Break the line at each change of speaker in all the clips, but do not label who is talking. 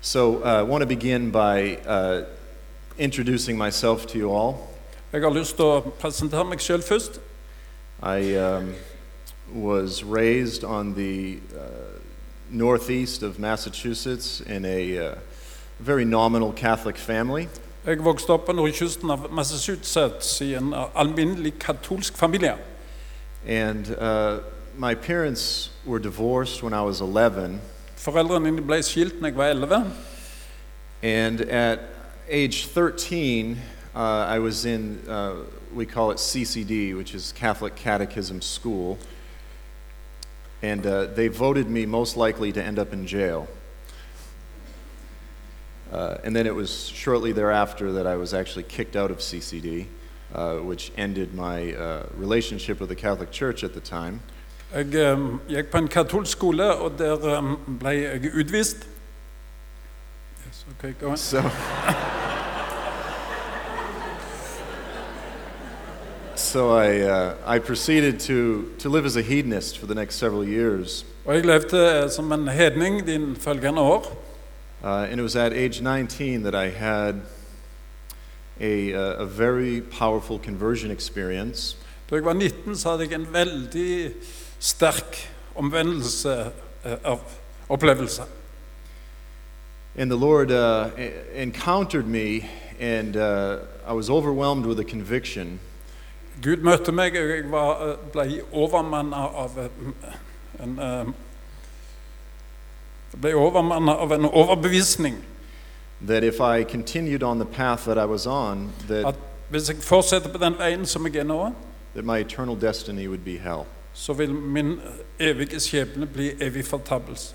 So uh, I want to begin by uh, introducing myself to you all.
Jeg har lyst til å presentere meg selv først.
I um, was raised on the uh, northeast of Massachusetts in a uh, very nominal Catholic family.
Jeg vokste opp på nordkysten av Massachusetts i en alminnelig katolsk familie.
And uh, my parents were divorced when I was 11.
Foreldrene mine ble skilt da jeg var 11.
And at age 13, uh, I was in, uh, we call it CCD, which is Catholic Catechism School. And uh, they voted me most likely to end up in jail. Uh, and then it was shortly thereafter that I was actually kicked out of CCD, uh, which ended my uh, relationship with the Catholic Church at the time.
Jeg eh, gikk på en katolsk skole, og der eh, ble jeg utvist. Yes, okay, go on.
So, so I, uh, I proceeded to, to live as a hedonist for the next several years.
Og jeg levde eh, som en hedning de følgende år.
Uh, and it was at age 19 that I had a, uh, a very powerful conversion experience.
Da jeg var 19, så hadde jeg en veldig sterk omvendelse eh, av opplevelse.
And the Lord uh, e- encountered me, and uh, I was overwhelmed with a conviction
Gud møtte meg, og jeg var, eh, ble overmanna av eh, en eh, Jeg ble overmanna av en overbevisning.
that if I continued on the path that I was on, that,
At hvis jeg fortsetter på den veien som jeg er nå,
that my eternal destiny would be hell.
så vil min evige skjebne bli evig fortapelse.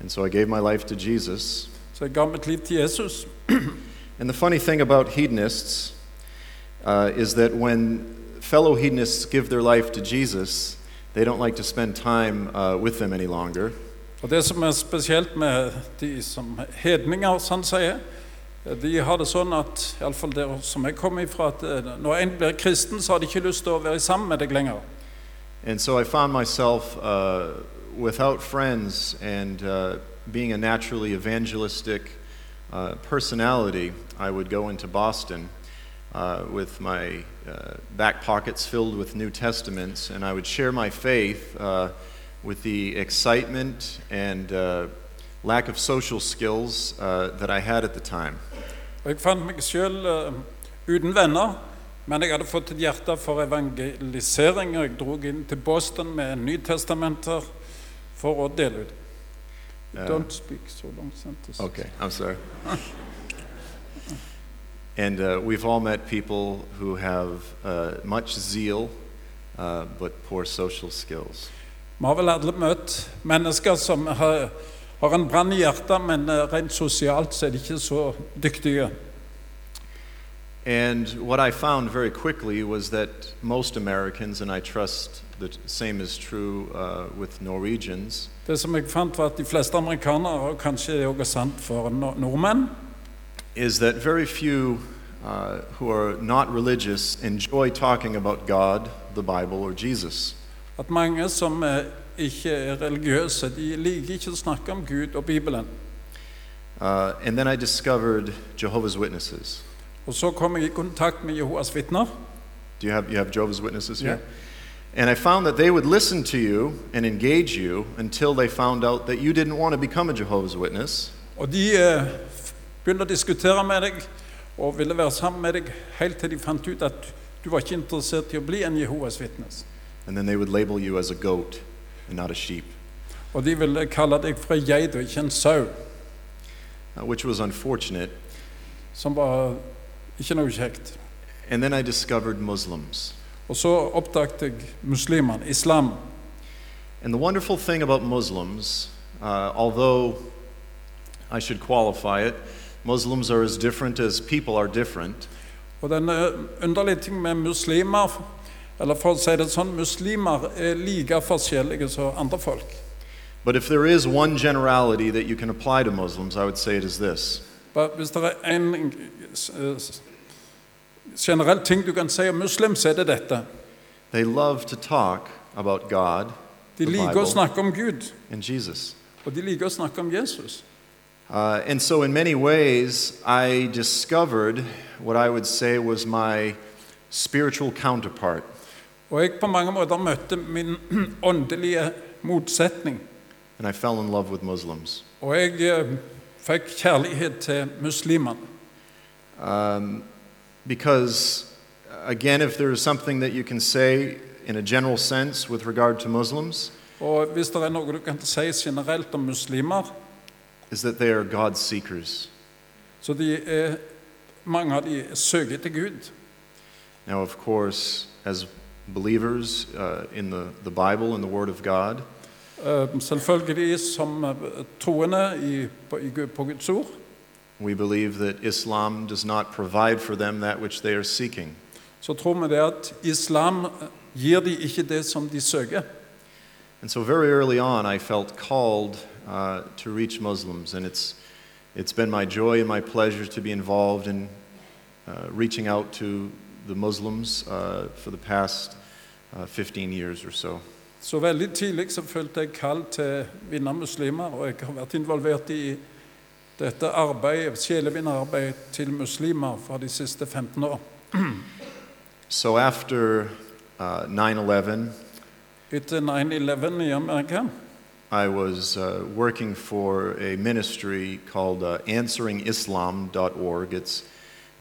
And so I gave my life to Jesus.
Så jeg ga mitt liv til Jesus.
And the funny thing about hedonists uh, is that when fellow hedonists give their life to Jesus, they don't like to spend time uh, with them any longer.
Og det som er spesielt med de som er hedninger, sånn sier, de har det sånn at iallfall der som jeg kommer ifra, at eh, når en blir kristen, så har de ikke lyst til å være sammen med deg lenger.
And so I found myself uh, without friends and uh, being a naturally evangelistic uh, personality. I would go into Boston uh, with my uh, back pockets filled with New Testaments, and I would share my faith uh, with the excitement and uh, lack of social skills uh, that I had at the time.
Og jeg fant meg sjøl uten venner, men jeg hadde fått et hjerte for evangelisering, og jeg dro inn til Boston med Nytestamenter for å dele ut.
Eh.
Don't speak so long sentence.
Okay, I'm sorry. and uh, we've all met people who have uh, much zeal uh, but poor social skills.
Vi har vel alle møtt mennesker som har, har en brann i hjertet, men eh, rent sosialt så er de ikke så dyktige.
And what I found very quickly was that most Americans, and I trust the t- same is true uh, with Norwegians,
Det som jeg fant, var at de fleste amerikanere, og kanskje det også er sant for no- nordmenn,
is that very few uh, who are not religious enjoy talking about God, the Bible, or Jesus.
at mange som eh, ikke er religiøse, de liker ikke å snakke om Gud og Bibelen.
Uh, and then I discovered Jehovah's Witnesses.
Og så kom jeg i kontakt med Jehovas vitner.
Do you have, you have Jehovah's Witnesses here?
Yeah.
And I found that they would listen to you and engage you until they found out that you didn't want to become a Jehovah's Witness.
Og de eh, f- begynte å diskutere med deg og ville være sammen med deg helt til de fant ut at du var ikke interessert i å bli en Jehovas vitnes.
And then they would label you as a goat and not a sheep,
Og de ville kalle deg for ei geit og ikke en sau,
uh, which was unfortunate.
som var ikke noe kjekt.
And then I discovered Muslims.
Og så oppdaget jeg muslimene, islam.
And the wonderful thing about Muslims, uh, although I should qualify it, Muslims are as different as people are different.
Og den eh, underlige ting med muslimer, eller for å si det sånn, muslimer er like forskjellige som andre folk.
But if there is one generality that you can apply to Muslims, I would say it is this.
Hva- Hvis det er en eh, s- generell ting du kan si om muslim, så er det dette.
They love to talk about God,
De
the
liker å
Bible,
snakke om Gud,
and Jesus.
og de liker å snakke om Jesus.
Uh, and so, in many ways, I discovered what I would say was my spiritual counterpart.
Og jeg på mange måter møtte min åndelige motsetning.
And I fell in love with Muslims.
Og jeg eh, fikk kjærlighet til muslimene.
Um, because, again, if there is something that you can say in a general sense with regard to Muslims,
Og hvis det er noe du kan si generelt om muslimer,
is that they are God seekers.
så de er, mange av de søker til Gud.
Now, of course, as believers uh, in the, the Bible and the Word of God,
Eh, Selvfølgelig som eh, troende i, på, i Gud, på Guds ord,
we believe that Islam does not provide for them that which they are seeking.
så tror vi det at islam eh, gir de ikke det som de søker.
And so, very early on, I felt called uh, to reach Muslims, and it's, it's been my joy and my pleasure to be involved in uh, reaching out to the Muslims uh, for the past uh, 15 years or so.
Så veldig tidlig så følte jeg kall til å vinne muslimer, og jeg har vært involvert i dette arbeidet, sjelevinnerarbeidet til muslimer fra de siste 15 år.
So, after uh, 9 11,
Etter 9-11 i Amerika
I was uh, working for a ministry called uh, answeringislam.org. It's,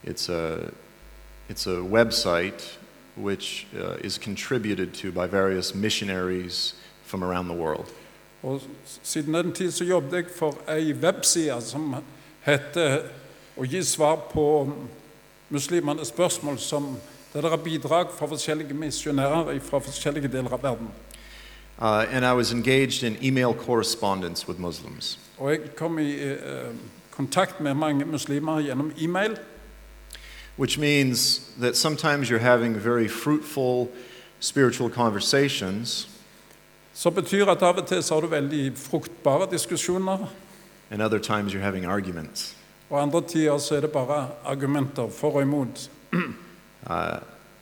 it's, a, it's a website which uh, is contributed to by various missionaries from around the world.
Og siden den tid så jobbet jeg for ei webside som heter Å gi svar på muslimenes spørsmål, som der det er bidrag fra forskjellige misjonærer fra forskjellige deler av verden.
Uh, and I was engaged in email correspondence with Muslims.
Og jeg kom i eh, kontakt med mange muslimer gjennom e-mail.
Which means that sometimes you're having very fruitful spiritual conversations,
Så betyr at av og til så har du veldig fruktbare diskusjoner,
and other times you're having arguments.
og andre tider så er det bare argumenter for og imot.
Uh,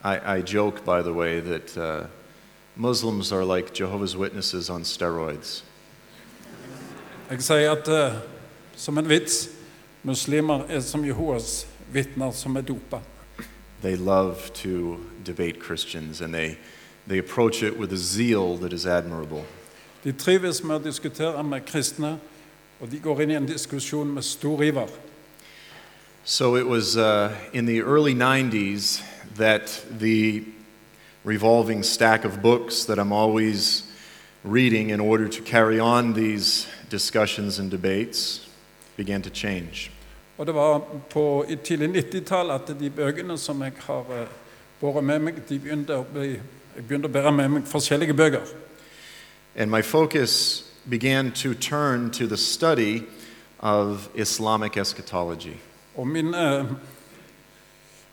I, I joke, by the way, that uh, Muslims are like Jehovah's Witnesses on steroids.
Jeg sier at eh, som en vits muslimer er som Jehovas vitner som er dopa.
They love to debate Christians and they, they approach it with a zeal that is admirable.
De trives med å diskutere med kristne, og de går inn i en diskusjon med stor iver.
So it was uh, in the early 90s that the revolving stack of books that I'm always reading in order to carry on these discussions and debates began to change.
Og det var på, i tidlig 90-tall at de bøkene som jeg har eh, båret med meg, de begynte å bli jeg begynte å bære med meg forskjellige bøker.
And my focus began to turn to the study of Islamic eschatology.
Og min, eh,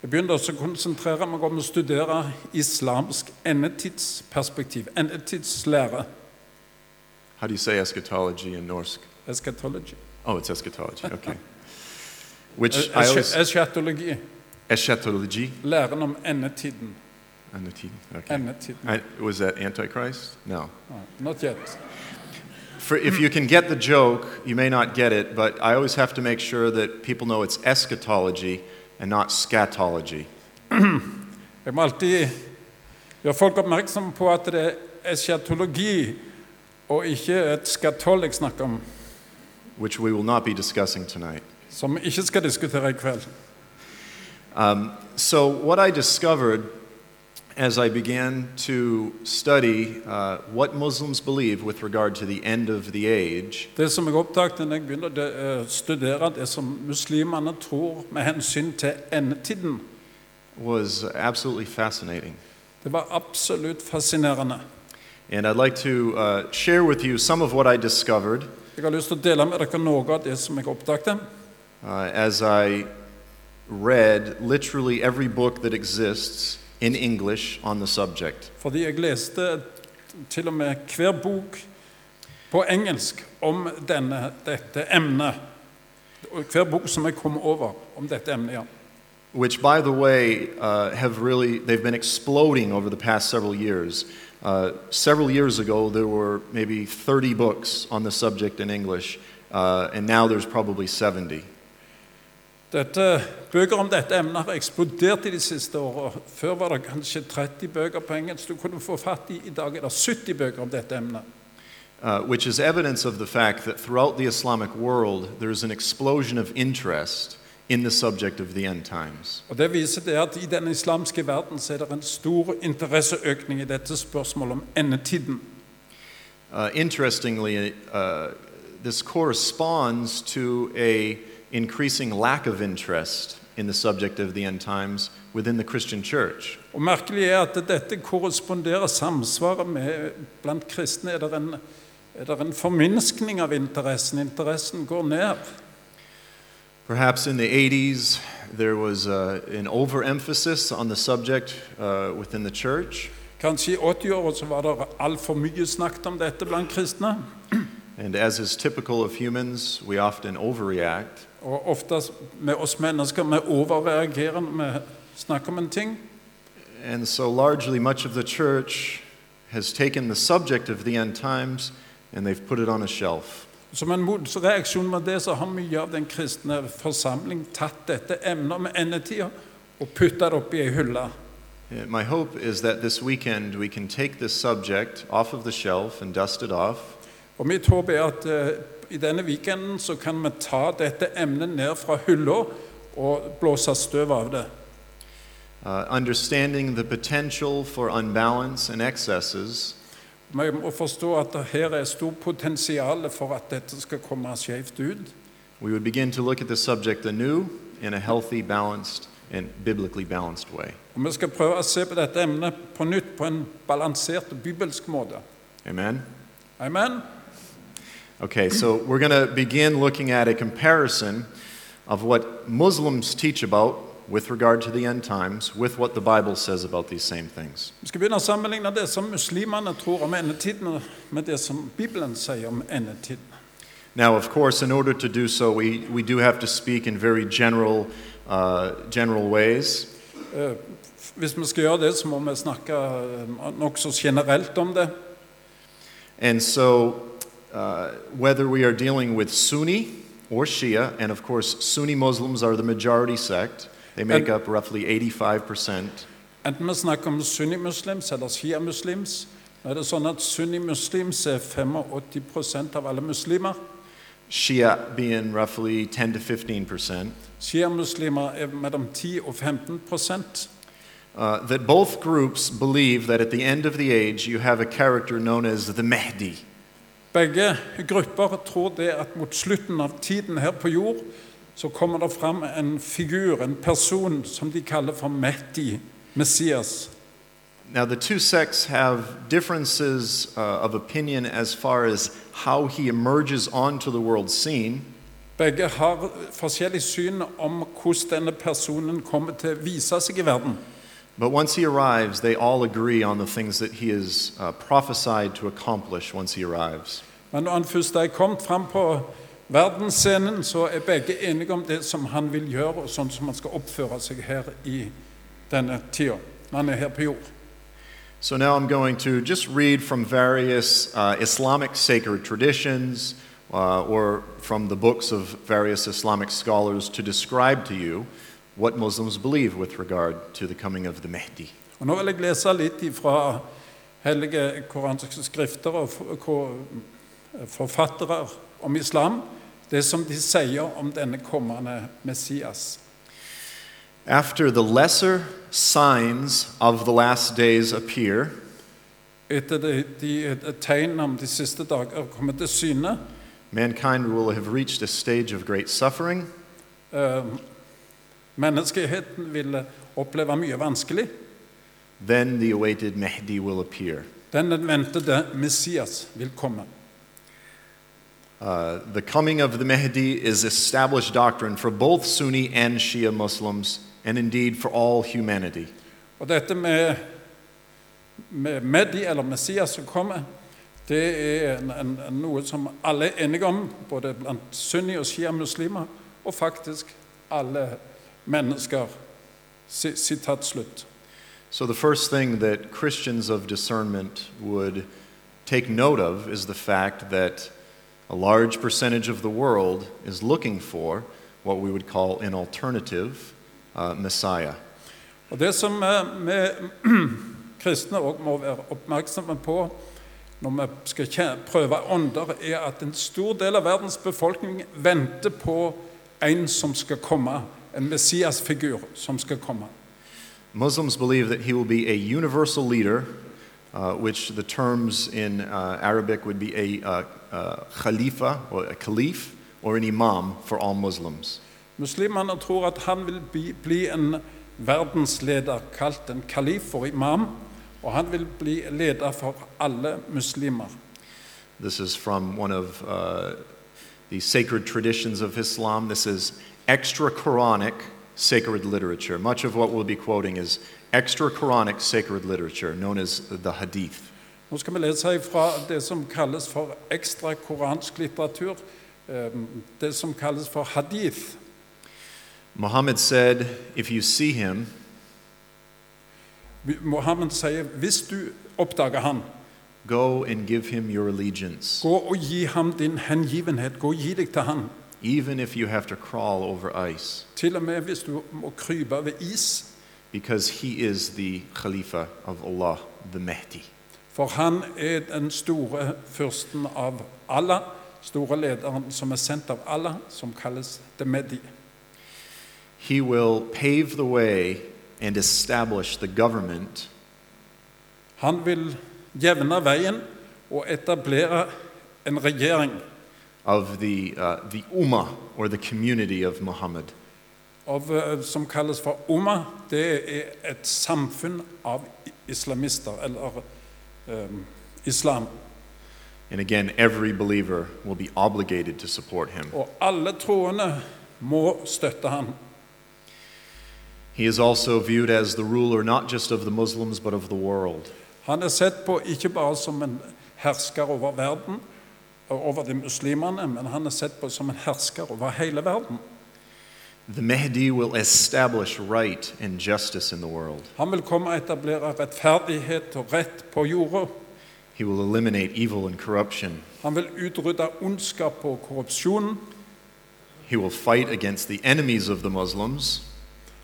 jeg begynte også å konsentrere meg om å studere islamsk endetidsperspektiv, endetidslære,
How do you say eschatology in Norse?
eschatology,
Oh, it's eschatology, okay. Which I
Es-
always.
eschatologi,
Eschatology?
læren om endetiden,
Anati- Okay.
endetiden.
I, was that Antichrist? No.
Ah, Not yet.
For, if you can get the joke, you may not get it, but I always have to make sure that people know it's eschatology and not scatology.
Jeg må alltid gjøre folk oppmerksom på at det er eschatologi og ikke et skatoll jeg snakker om,
Which we will not be discussing tonight.
som vi ikke skal diskutere i kveld.
Um, so, what I discovered as I began to study uh, what Muslims believe with regard to the end of the age
Det som jeg oppdaget når jeg begynte å eh, studere det som muslimene tror med hensyn til endetiden,
was absolutely fascinating.
det var absolutt fascinerende.
And I'd like to uh, share with you some of what I discovered
Jeg har lyst til å dele med dere noe av det som jeg oppdaget.
uh, as I read literally every book that exists in English on the subject.
Fordi jeg leste til og med hver bok på engelsk om denne, dette emnet. Og Hver bok som jeg kom over om dette emnet. ja.
which, by the way, uh, have really they've been exploding over the past several years. Uh, several years ago, there were maybe 30 books on the subject in English. uh, and now there's probably 70.
Dette, bøker om dette emnet har eksplodert i de siste årene. Før var det kanskje 30 bøker på engelsk du kunne få fatt i. I dag er det 70 bøker om dette emnet.
uh, which is evidence of the fact that throughout the Islamic world, there is an explosion of interest in the subject of the end times.
Og Det viser det at i den islamske verden så er det en stor interesseøkning i dette spørsmålet om endetiden.
Uh, interestingly, uh, this corresponds to a increasing lack of interest in the subject of the end times within the Christian church.
Og Merkelig er at dette korresponderer samsvaret med Blant kristne er det en, er det en forminskning av interessen. Interessen går ned.
Perhaps in the 80s, there was uh, an overemphasis on the subject uh, within the church.
Kanskje i 80-åra så var det altfor mye snakket om dette blant kristne.
And as is typical of humans, we often overreact.
Og ofte med oss mennesker vi overreagerer når vi snakker om en ting.
And so, largely, much of the church has taken the subject of the end times and they've put it on a shelf.
Som en motreaksjon med det så har mye av den kristne forsamling tatt dette emnet med endetida og putta det oppi ei hylle.
Uh, My hope is that this weekend we can take this subject off of the shelf and dust it off
Og mitt håp er at eh, i denne weekenden så kan vi ta dette emnet ned fra hylla og blåse støv av det.
uh, understanding the potential for unbalance and excesses,
Vi må forstå at det her er stort potensial for at dette skal komme skjevt ut.
we would begin to look at the subject anew in a healthy, balanced, and biblically balanced way.
Og vi skal prøve å se på dette emnet på nytt på en balansert og bibelsk måte.
Amen?
Amen.
Okay, so we're going to begin looking at a comparison of what Muslims teach about with regard to the end times with what the Bible says about these same things.
Vi skal begynne å sammenligne det som muslimene tror om endetiden, med det som Bibelen sier om endetiden.
Now, of course, in order to do so, we, we do have to speak in very general, uh, general ways.
Eh, Hvis vi skal gjøre det, så må vi snakke eh, nokså generelt om det.
And so, uh, whether we are dealing with Sunni or Shia, and of course, Sunni Muslims are the majority sect, they make up roughly 85%.
Enten vi snakker om sunnimuslims eller sjiamuslims, nå er det sånn at sunnimuslims er 85 av alle muslimer.
Shia being roughly 10 to 15 percent.
Sjiamuslimer er mellom 10 og 15
uh, that both groups believe that at the end of the age you have a character known as the Mahdi.
Begge grupper tror det at mot slutten av tiden her på jord så kommer det fram en figur, en person, som de kaller for Mehdi, Messias.
Now, the two sects have differences uh, of opinion as far as how he emerges onto the world scene,
Begge har forskjellig syn om hvordan denne personen kommer til å vise seg i verden.
but once he arrives, they all agree on the things that he is uh, prophesied to accomplish once he arrives.
Men når han først er kommet fram på verdensscenen, så er begge enige om det som han vil gjøre, og sånn som han skal oppføre seg her i denne tida. når Han er her på jord.
So now I'm going to just read from various uh, Islamic sacred traditions uh, or from the books of various Islamic scholars to describe to you what Muslims believe with regard to the coming of the Mahdi.
Og Nå vil jeg lese litt fra hellige koranske skrifter og for- ko- forfattere om islam, det som de sier om denne kommende Messias.
After the lesser signs of the last days appear,
Etter de, de, de tegn om de siste dager kommer til syne,
mankind will have reached a stage of great suffering,
eh, menneskeheten vil oppleve mye vanskelig,
then the awaited Mahdi will appear.
den ventede Messias vil komme.
Uh, the coming of the Mahdi is established doctrine for both Sunni and Shia Muslims, and indeed for all humanity.
Og dette med, med Mehdi, eller Messias, som kommer, det er en, en, en- noe som alle er enige om, både blant sunni- og shia-muslimer, og faktisk alle mennesker. Si- Sitat slutt.
So, the first thing that Christians of discernment would take note of is the fact that a large percentage of the world is looking for what we would call an alternative uh, Messiah.
Og Det som eh, vi kristne også må være oppmerksomme på når vi skal kje- prøve ånder, er at en stor del av verdens befolkning venter på en som skal komme, en Messias-figur som skal komme.
Muslims believe that he will be a universal leader, uh, which the terms in uh, Arabic would be a uh, uh, khalifa or a caliph or an imam for all Muslims.
Muslimene tror at han vil bli, bli en verdensleder kalt en kalif for imam, og han vil bli leder for alle muslimer.
This is from one of uh, the sacred traditions of Islam. This is extra Quranic sacred literature. Much of what we'll be quoting is extra Quranic sacred literature, known as the Hadith.
Nå skal vi lese fra det som kalles for ekstra koransk litteratur, eh, det som kalles for hadith.
Muhammad said, If you see him,
Mohammed sier hvis du oppdager han,
go and give him your allegiance,
gå og gi ham din hengivenhet, gå og gi deg til han.
even if you have to crawl over ice,
Til og med hvis du må krype over is,
because he is the Khalifa of Allah, the Mahdi.
for han er den store fyrsten av Allah, store lederen som er sendt av Allah, som kalles Demedi.
He will pave the way and establish the government
Han vil jevne veien og etablere en regjering
of the, uh, the ummah or the community of Muhammad.
av, eh, som kalles for Umma, det er et samfunn av islamister, eller eh, islam.
And again, every believer will be obligated to support him.
Og alle troende må støtte ham.
He is also viewed as the ruler not just of the Muslims but of the world.
Han er sett på ikke bare som en hersker over verden, og over de muslimene, men han er sett på som en hersker over hele verden.
The Mahdi will establish right and justice in the world.
Han vil komme og etablere rettferdighet og rett på jorda.
He will eliminate evil and corruption.
Han vil utrydde ondskap og korrupsjon.
He will fight against the enemies of the Muslims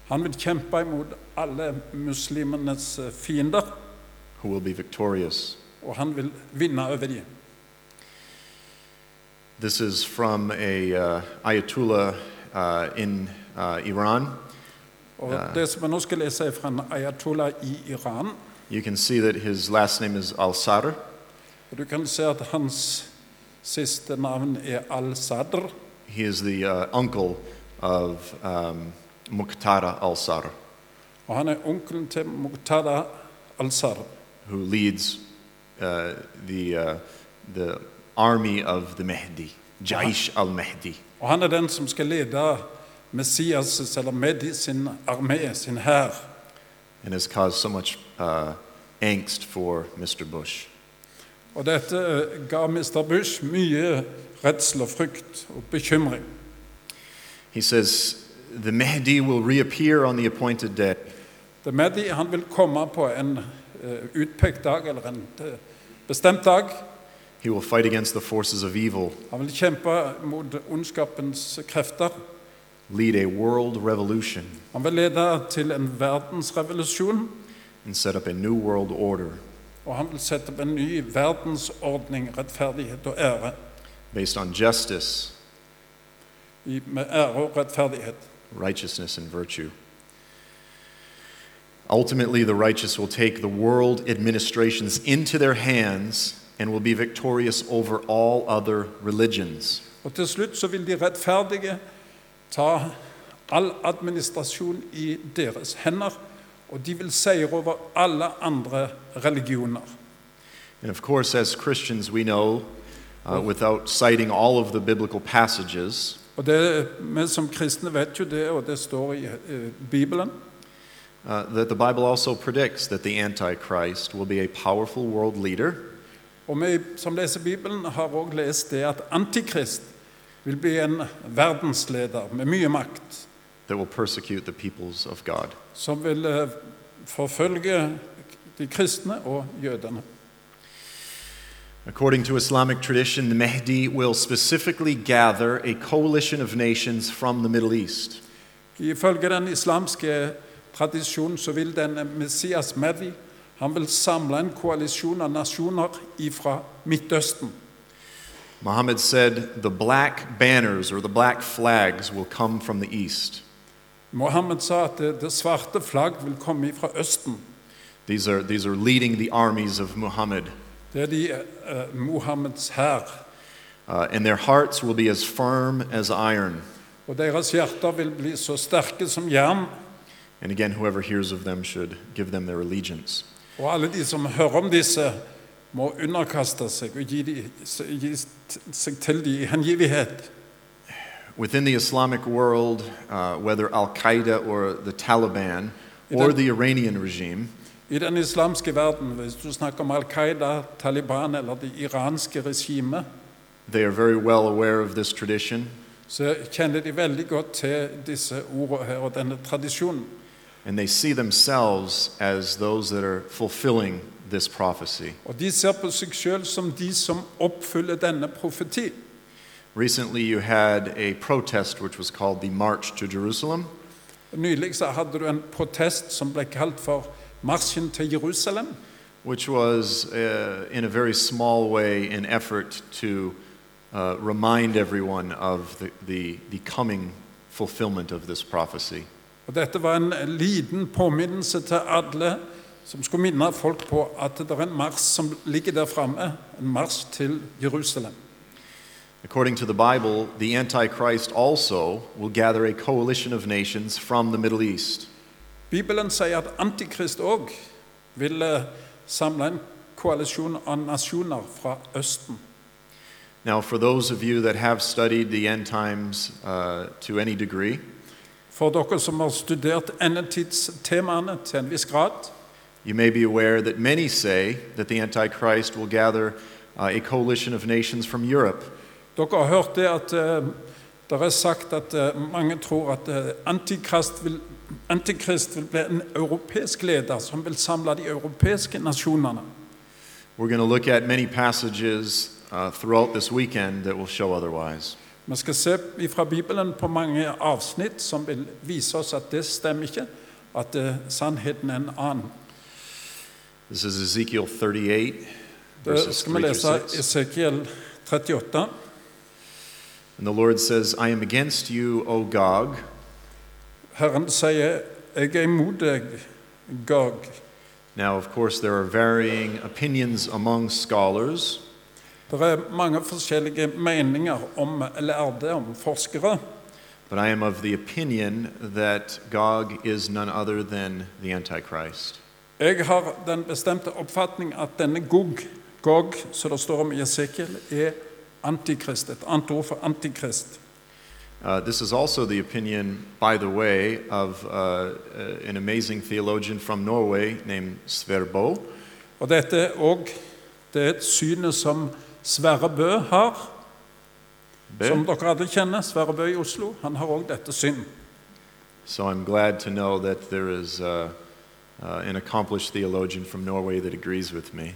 Han vil kjempe imot alle muslimenes eh, fiender.
who will be victorious.
og han vil vinne over dem.
This is from a uh, Ayatollah uh, in uh, Iran.
Og Det som jeg nå skal lese, er fra en ayatollah i Iran.
You can see that his last name is Al-Sadr.
Og Du kan se at hans siste navn er al-Sadr.
He is the uh, uncle of um, Muqtada al-Sadr,
Og han er onkelen til Muqtada al-Sadr,
who leads uh, the, uh, the army of the Mahdi, Jaish al-Mahdi.
Og han er den som skal lede Messias, eller Mehdi, sin armé, sin hær.
and has caused so much uh, angst for Mr. Bush.
Og dette eh, ga Mr. Bush mye redsel og frykt og bekymring.
He says, The Mahdi will reappear on the appointed day.
The Mehdi han vil komme på en eh, utpekt dag, eller en eh, bestemt dag,
He will fight against the forces of evil,
Han vil kjempe mot ondskapens krefter.
lead a world revolution,
Han vil lede til en verdensrevolusjon,
and set up a new world order
og han vil sette opp en ny verdensordning, rettferdighet og ære.
based on justice,
I- Med ære og rettferdighet.
righteousness, and virtue. Ultimately, the righteous will take the world administrations into their hands and will be victorious over all other religions.
Og til slutt så vil de rettferdige ta all administrasjon i deres hender, og de vil seire over alle andre religioner.
And of course, as Christians, we know, uh, without citing all of the biblical passages,
Og det vi som kristne vet jo det, og det står i eh, Bibelen,
uh, that the Bible also predicts that the Antichrist will be a powerful world leader
Og vi som leser Bibelen, har også lest det at Antikrist vil bli en verdensleder med mye makt,
that will persecute the peoples of God.
som vil eh, forfølge de kristne og jødene.
According to Islamic tradition, the Mahdi will specifically gather a coalition of nations from the Middle East.
Ifølge den islamske tradisjonen så vil den Messias Mehdi han vil samle en koalisjon av nasjoner ifra Midtøsten.
Muhammad said, The black banners or the black flags will come from the East.
Mohammed sa at det, det svarte flagg vil komme ifra Østen.
These are, these are leading the armies of Muhammad,
Det er de eh, Mohammeds hær.
uh, and their hearts will be as firm as iron.
Og deres hjerter vil bli så sterke som jern.
And again, whoever hears of them should give them their allegiance.
Og alle de som hører om disse, må underkaste seg og gi, de, gi seg til de i hengivighet.
Within the Islamic world, uh, whether Al Qaeda or the Taliban or
Ident-
the Iranian regime,
I den islamske verden, hvis du snakker om Al Qaida, Taliban eller det iranske regimet,
they are very well aware of this tradition,
så kjenner de veldig godt til disse ordene her og denne tradisjonen.
and they see themselves as those that are fulfilling this prophecy.
Og de ser på seg sjøl som de som oppfyller denne profeti.
Recently, you had a protest which was called the March to Jerusalem,
Nylig så hadde du en protest som ble kalt for Marsjen til Jerusalem.
which was, uh, in a very small way, an effort to uh, remind everyone of the, the, the coming fulfillment of this prophecy.
Og dette var en liten påminnelse til alle som skulle minne folk på at det er en mars som ligger der framme, en mars til Jerusalem.
According to the Bible, the Antichrist also will gather a coalition of nations from the Middle East.
Bibelen sier at Antikrist òg vil eh, samle en koalisjon av nasjoner fra Østen.
Now, for those of you that have studied the end times uh, to any degree,
For dere som har studert endetidstemaene til en viss grad,
you may be aware that many say that the Antichrist will gather uh, a coalition of nations from Europe.
dere har hørt det at eh, det er sagt at eh, mange tror at eh, antikrist vil, antikrist vil bli en europeisk leder som vil samle de europeiske nasjonene.
We're going to look at many passages uh, throughout this weekend that will show otherwise.
Vi skal se fra Bibelen på mange avsnitt som vil vise oss at det stemmer ikke, at eh, sannheten er en annen.
This is Ezekiel 38,
Da
verses
skal vi
3 through
lese
6.
Esekiel 38.
And the Lord says, I am against you, O Gog,
Herren sier, 'Jeg er imot deg, Gag'.
Now, of course, there are varying opinions among scholars,
Det er mange forskjellige meninger om lærde, om forskere,
but I am of the opinion that Gog is none other than the Antichrist.
Jeg har den bestemte oppfatning at denne Gog, Gog som det står om i Esekiel, er antikrist. Et annet ord for antikrist.
Uh, this is also the opinion, by the way, of uh, uh, an amazing theologian from Norway named Sverbo.
Og dette er òg det er et synet som Sverre Bø har, som dere alle kjenner. Sverre Bø i Oslo. Han har òg dette syn.
So I'm glad to know that there is uh, uh, an accomplished theologian from Norway that agrees with me.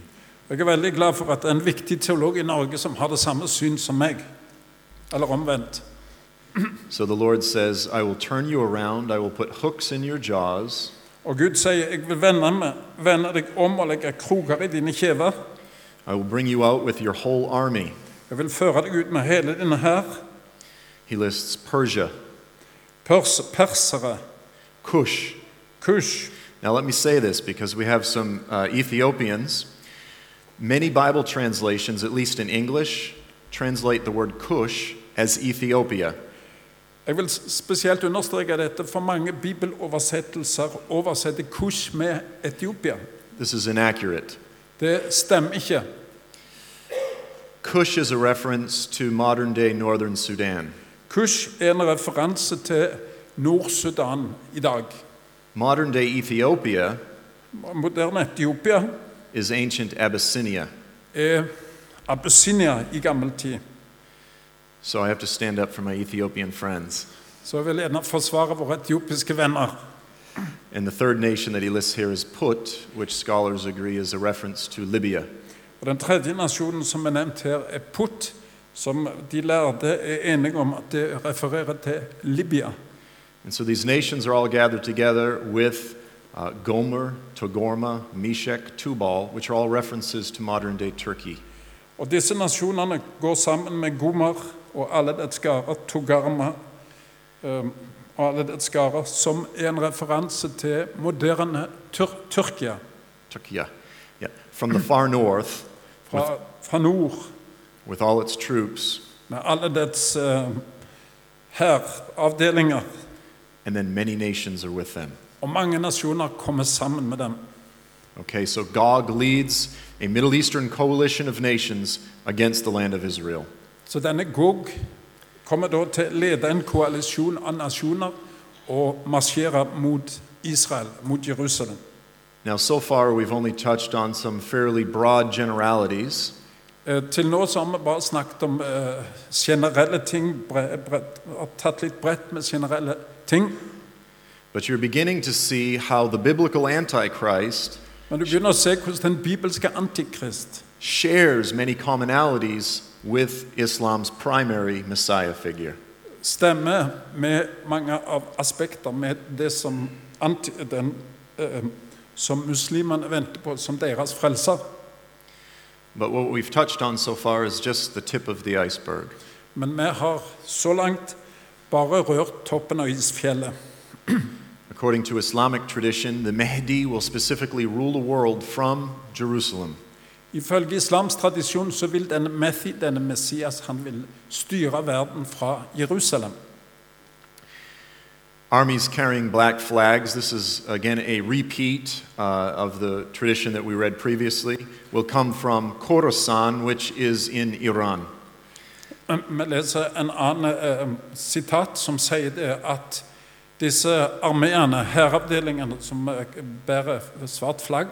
Jeg er veldig glad for at det er en viktig teolog i Norge som har det samme syn som meg. Eller omvendt.
So the Lord says, I will turn you around, I will put hooks in your jaws.
Og Gud sier, 'Jeg vil vende, meg, vende deg om og legge kroker i dine kjever.'
I will bring you out with your whole army.
'Jeg vil føre deg ut med hele denne hær,
He lists Persia,
pers, persere,
Cush.
Kush.'
Now, let me say this because we have some uh, Ethiopians. Many Bible translations, at least in English, translate the word Cush as Ethiopia.
Jeg vil s- spesielt understreke dette, for mange bibeloversettelser oversetter Kush med Etiopia.
This is inaccurate.
Det stemmer ikke.
Cush is a reference to modern day northern Sudan.
Kush er en referanse til Nord-Sudan i dag.
Modern day Ethiopia
Moderne Etiopia
is ancient Abyssinia.
er Abyssinia i gammel tid.
So I have to stand up for my Ethiopian friends.
Så jeg vil gjerne forsvare våre etiopiske venner.
And the third nation that he lists here is Put, which scholars agree is a reference to Libya.
Og Den tredje nasjonen som er nevnt her, er Put, som de lærde er enige om at det refererer til Libya.
And so these nations are all gathered together with uh, Gomer, Togorma, Meshech, Tubal, which are all references to modern day Turkey.
Og disse nasjonene går sammen med Gomer og alle dets skarer, Togarma eh, og alle dets skarer, som er en referanse til moderne Tyr Tyrkia
Turkey, yeah. yeah. From the far north,
fra, fra nord,
with all its troops,
med alle dets eh, hæravdelinger.
and then many nations are with them.
Og mange nasjoner kommer sammen med dem.
Okay, so Gog leads a Middle Eastern coalition of nations against the land of Israel.
Så denne Gog kommer da til å lede en koalisjon av nasjoner og marsjere mot Israel, mot Jerusalem.
Now, so far, we've only touched on some fairly broad generalities,
Eh, Til nå så har vi bare snakket om eh, generelle ting, bre, bre, har tatt litt bredt med generelle ting.
but you're beginning to see how the biblical Antichrist
Men du begynner å se hvordan den bibelske antikrist
shares many commonalities with Islam's primary Messiah figure.
stemmer med mange av aspekter med det som, anti, den, eh, som muslimene venter på som deres frelser.
But what we've touched on so far is just the tip of the iceberg.
Men vi har så langt bare rørt toppen av isfjellet.
According to Islamic tradition, the Mahdi will specifically rule the world from Jerusalem.
Ifølge islams tradisjon så vil denne Methi, denne Messias, han vil styre verden fra Jerusalem.
Armies carrying black flags, this is again a repeat uh, of the tradition that we read previously, will come from Khorasan, which is in Iran.
Eh, Vi leser en annen eh, sitat som sier det at disse armeene, hæravdelingene som eh, bærer svart flagg,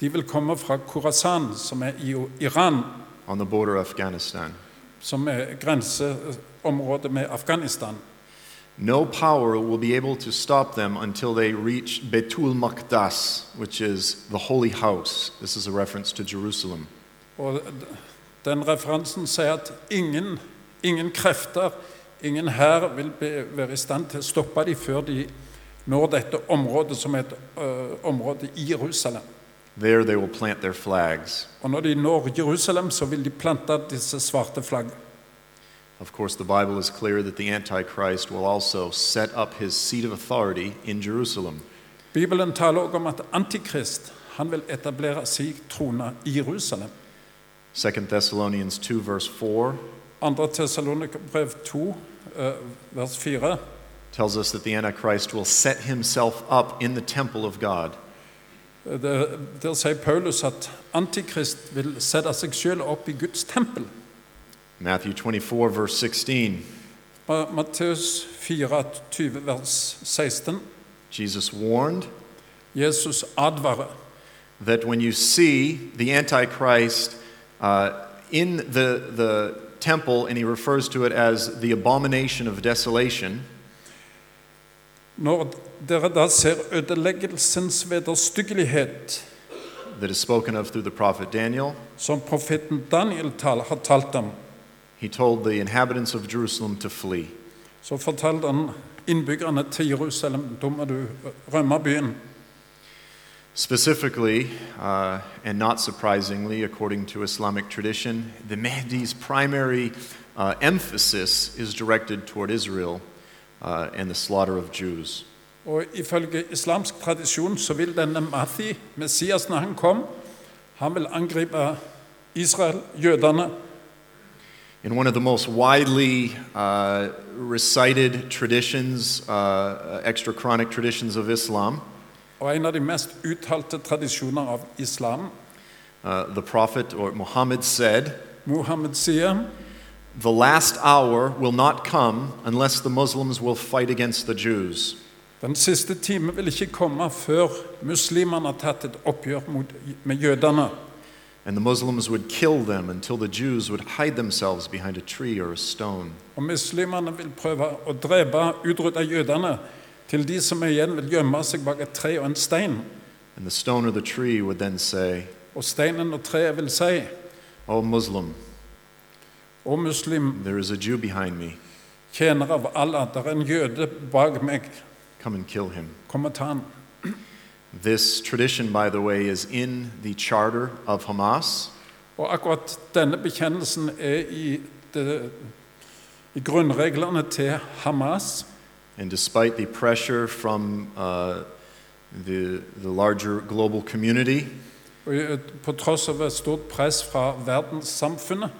de vil komme fra Khorasan, som er i Iran,
on the border of Afghanistan.
som er grenseområdet med Afghanistan.
No power will be able to stop them until they reach Betul Maqdas, which is the holy house. This is a reference to Jerusalem.
Og d- den referansen sier at ingen, ingen krefter, ingen hær vil be- være i stand til å stoppe dem før de når dette området som er et øh, område i Jerusalem.
There they will plant their flags.
Og når de når Jerusalem, så vil de plante disse svarte flagg.
Of course, the Bible is clear that the Antichrist will also set up his seat of authority in Jerusalem.
Bibelen taler også om at Antikrist han vil etablere sin trone i Jerusalem.
2 Thessalonians 2, verse 4,
2. Tessalonika-brev 2, øh, vers 4.
tells us that the Antichrist will set himself up in the temple of God.
Det, der sier Paulus at Antikrist vil sette seg selv opp i Guds tempel.
Matthew 24, verse 16,
Ma- Matteus 4, 20, vers 16.
Jesus warned
Jesus advarer.
that when you see the Antichrist uh, in the, the temple, and he refers to it as the abomination of desolation,
Når dere da ser ødeleggelsens vederstyggelighet,
that is spoken of through the prophet Daniel,
som profeten Daniel tal, har talt om,
he told the inhabitants of Jerusalem to flee.
så fortalte han innbyggerne til Jerusalem da må du rømme byen.
Specifically, uh, and not surprisingly, according to Islamic tradition, the Mahdi's primary uh, emphasis is directed toward Israel uh, and the slaughter of Jews.
Og ifølge islamsk tradisjon så vil denne Mahdi, Messias, når han kom, han vil angripe Israel, jødene,
In one of the most widely uh, recited traditions, uh, extra chronic traditions of Islam,
og en av de mest uttalte tradisjoner av islam.
uh, the Prophet or Muhammad said,
Muhammed sier
The last hour will not come unless the Muslims will fight against the Jews.
Den siste time vil ikke komme før muslimene har tatt et oppgjør mot, med jødene.
And the Muslims would kill them until the Jews would hide themselves behind a tree or a stone.
Og muslimene vil prøve å drepe, utrydde jødene, til de som igjen vil gjemme seg bak et tre og en stein.
And the stone or the tree would then say,
Og steinen og treet vil si,
Oh, Muslim,
og muslim,
there is a Jew behind me.
tjener av Allah, der er en jøde bak meg,
Come and kill him.
kom og ta han.
This tradition, by the way, is in the charter of Hamas.
Og akkurat denne bekjennelsen er i, det, i grunnreglene til Hamas.
And despite the pressure from uh, the, the larger global community,
Og i- på tross av et stort press fra verdenssamfunnet,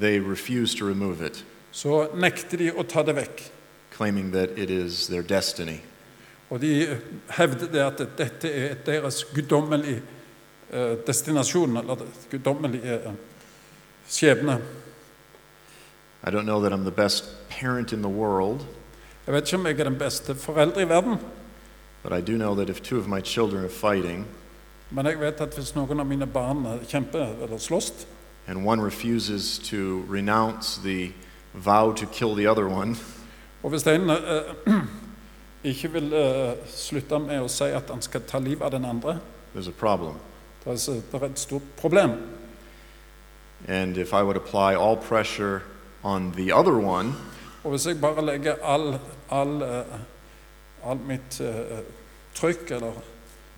they refuse to remove it,
så nekter de å ta det vekk.
claiming that it is their destiny.
Og de hevder det at dette er deres guddommelige eh, destinasjon, eller det guddommelige eh, skjebne.
I don't know that I'm the best parent in the world,
Jeg vet ikke om jeg er den beste forelder i verden,
but I do know that if two of my children are fighting
men jeg vet at hvis noen av mine barn kjemper eller slåss,
and one refuses to renounce the vow to kill the other one,
og hvis den eh, ikke vil eh, slutte med å si at han skal ta livet av den andre,
there's a problem.
da er så- da er det et stort problem.
And if I would apply all pressure on the other one,
Og hvis jeg bare legger all, all, eh, all mitt eh, trykk, eller,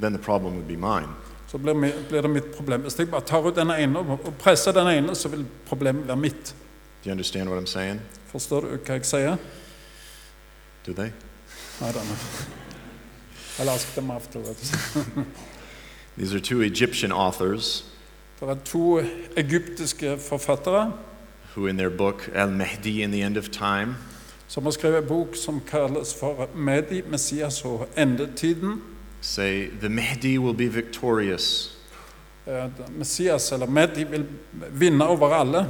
then the problem would be mine.
så blir, mi, blir det mitt problem. Hvis jeg bare tar ut den ene og og presser den ene, så vil problemet være mitt.
Do you understand what I'm saying?
Forstår du hva jeg sier?
Do they?
Nei, denne. I'll ask them afterwards.
These are two Egyptian authors
Det er to egyptiske forfattere
who, in their book Al Mahdi in the End of Time,
som har skrevet en bok som kalles for Medi, Messias og endetiden.
say the Mahdi will be victorious
Eh, Messias, eller Medi, vil vinne over alle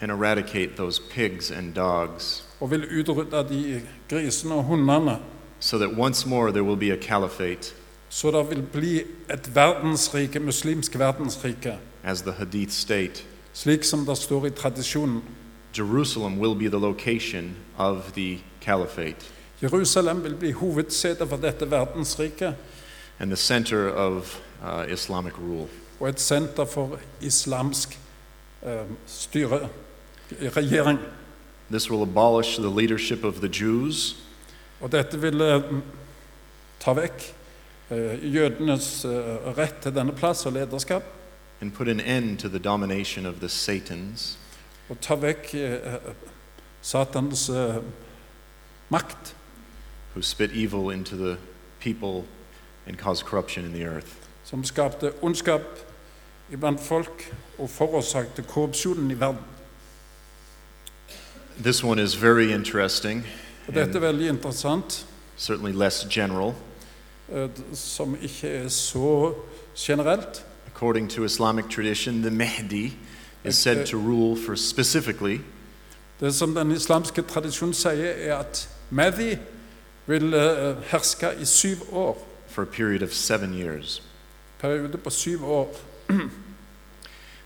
and eradicate those pigs and dogs,
og vil utrydde de grisene og hundene.
so that once more there will be a caliphate,
Så det vil bli et verdensrike, muslimsk verdensrike,
as the Hadith state.
slik som det står i tradisjonen.
Jerusalem will be the location of the caliphate
Jerusalem vil bli hovedsete for dette verdensriket
and the center of uh, Islamic rule.
og et senter for islamsk eh, styre, regjering.
This will abolish the leadership of the Jews
Og dette vil eh, ta vekk eh, jødenes eh, rett til denne plass og lederskap,
and put an end to the domination of the Satans
og ta vekk eh, eh, Satans eh, makt.
who spit evil into the people and cause corruption in the earth.
som skapte ondskap iblant folk og forårsakte korrupsjonen i verden.
This one is very interesting,
Og dette er veldig interessant,
certainly less general.
eh, d- som ikke er så generelt.
According to Islamic tradition, the Mahdi is said to rule for specifically
Det som den islamske tradisjonen sier, er at Mehdi vil eh, herske i syv år.
for a period of seven years.
Periode på syv år.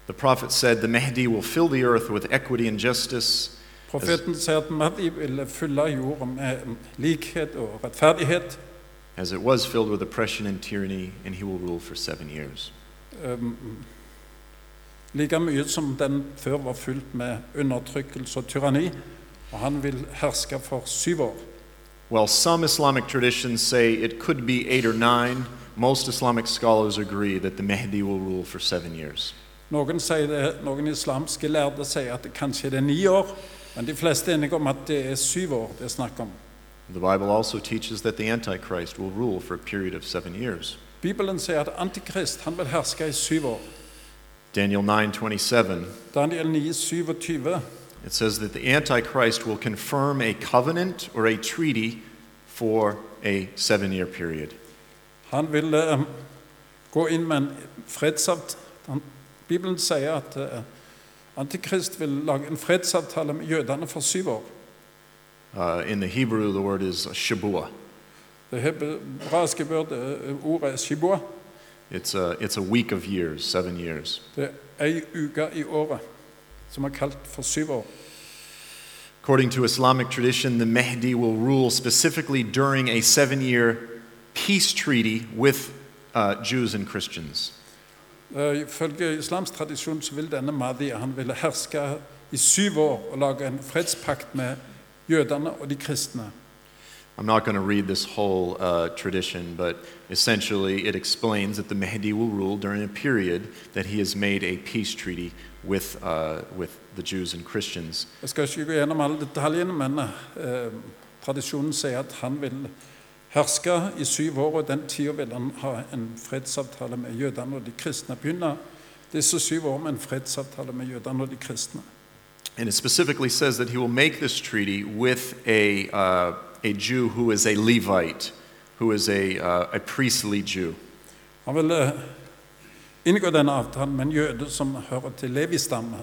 The prophet said the Mahdi will fill the earth with equity and justice,
Profeten sier at Mehdi vil fylle jorda med likhet og rettferdighet.
as it was filled with oppression and tyranny, and he will rule for seven years.
Um, like mye som den før var fylt med undertrykkelse og tyranni, og han vil herske for syv år.
While some Islamic traditions say it could be eight or nine, most Islamic scholars agree that the Mahdi will rule for seven years.
Noen, sier det, noen islamske lærde sier at det kanskje det er ni år, men de fleste er enige om at det er syv år det er snakk om.
The Bible also teaches that the Antichrist will rule for a period of seven years.
Bibelen sier at Antikrist han vil herske i syv år.
Daniel 9:27
Daniel 9, 27.
it says that the Antichrist will confirm a covenant or a treaty for a 7-year period.
Han vil eh, gå inn med en fredsavtale. Han, Bibelen sier at eh, Antikrist vil lage en fredsavtale med jødene for syv år.
Uh, in the Hebrew the word is shabuah.
Det hebraiske ordet, ordet er shibua.
It's a, it's a week of years, 7 years.
Det er ei uke i året som er kalt for syv år.
According to Islamic tradition, the Mahdi will rule specifically during a seven year peace treaty with uh, Jews and Christians.
Eh, Ifølge islams tradisjon så ville denne Mahdi han ville herske i syv år og lage en fredspakt med jødene og de kristne.
I'm not going to read this whole uh, tradition, but essentially it explains that the Mahdi will rule during a period that he has made a peace treaty with, uh, with the Jews and Christians.
Jeg skal ikke gå gjennom alle detaljene, men eh, tradisjonen sier at han vil herske i syv år, og den tida vil han ha en fredsavtale med jødene og de kristne. Begynne disse syv år med en fredsavtale med jødene og de kristne.
And it specifically says that he will make this treaty with a, uh, a Jew who is a Levite, who is a, uh, a priestly Jew.
Han vil eh, inngå denne avtalen med en jøde som hører til Levi-stammen.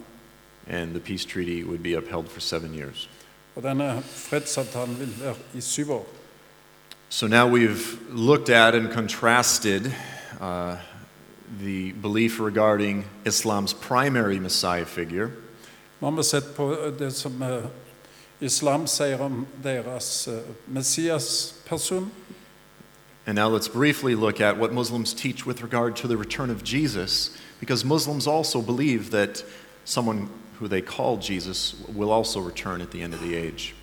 And the peace treaty would be upheld for seven years.
Og denne fredsavtalen vil være i syv år.
So now we've looked at and contrasted uh, the belief regarding Islam's primary Messiah figure
Nå har vi sett på eh, det som eh, islam sier om deres eh, Messias-person.
And now let's briefly look at what Muslims teach with regard to the return of Jesus, because Muslims also believe that someone who they call Jesus will also return at the end of the age.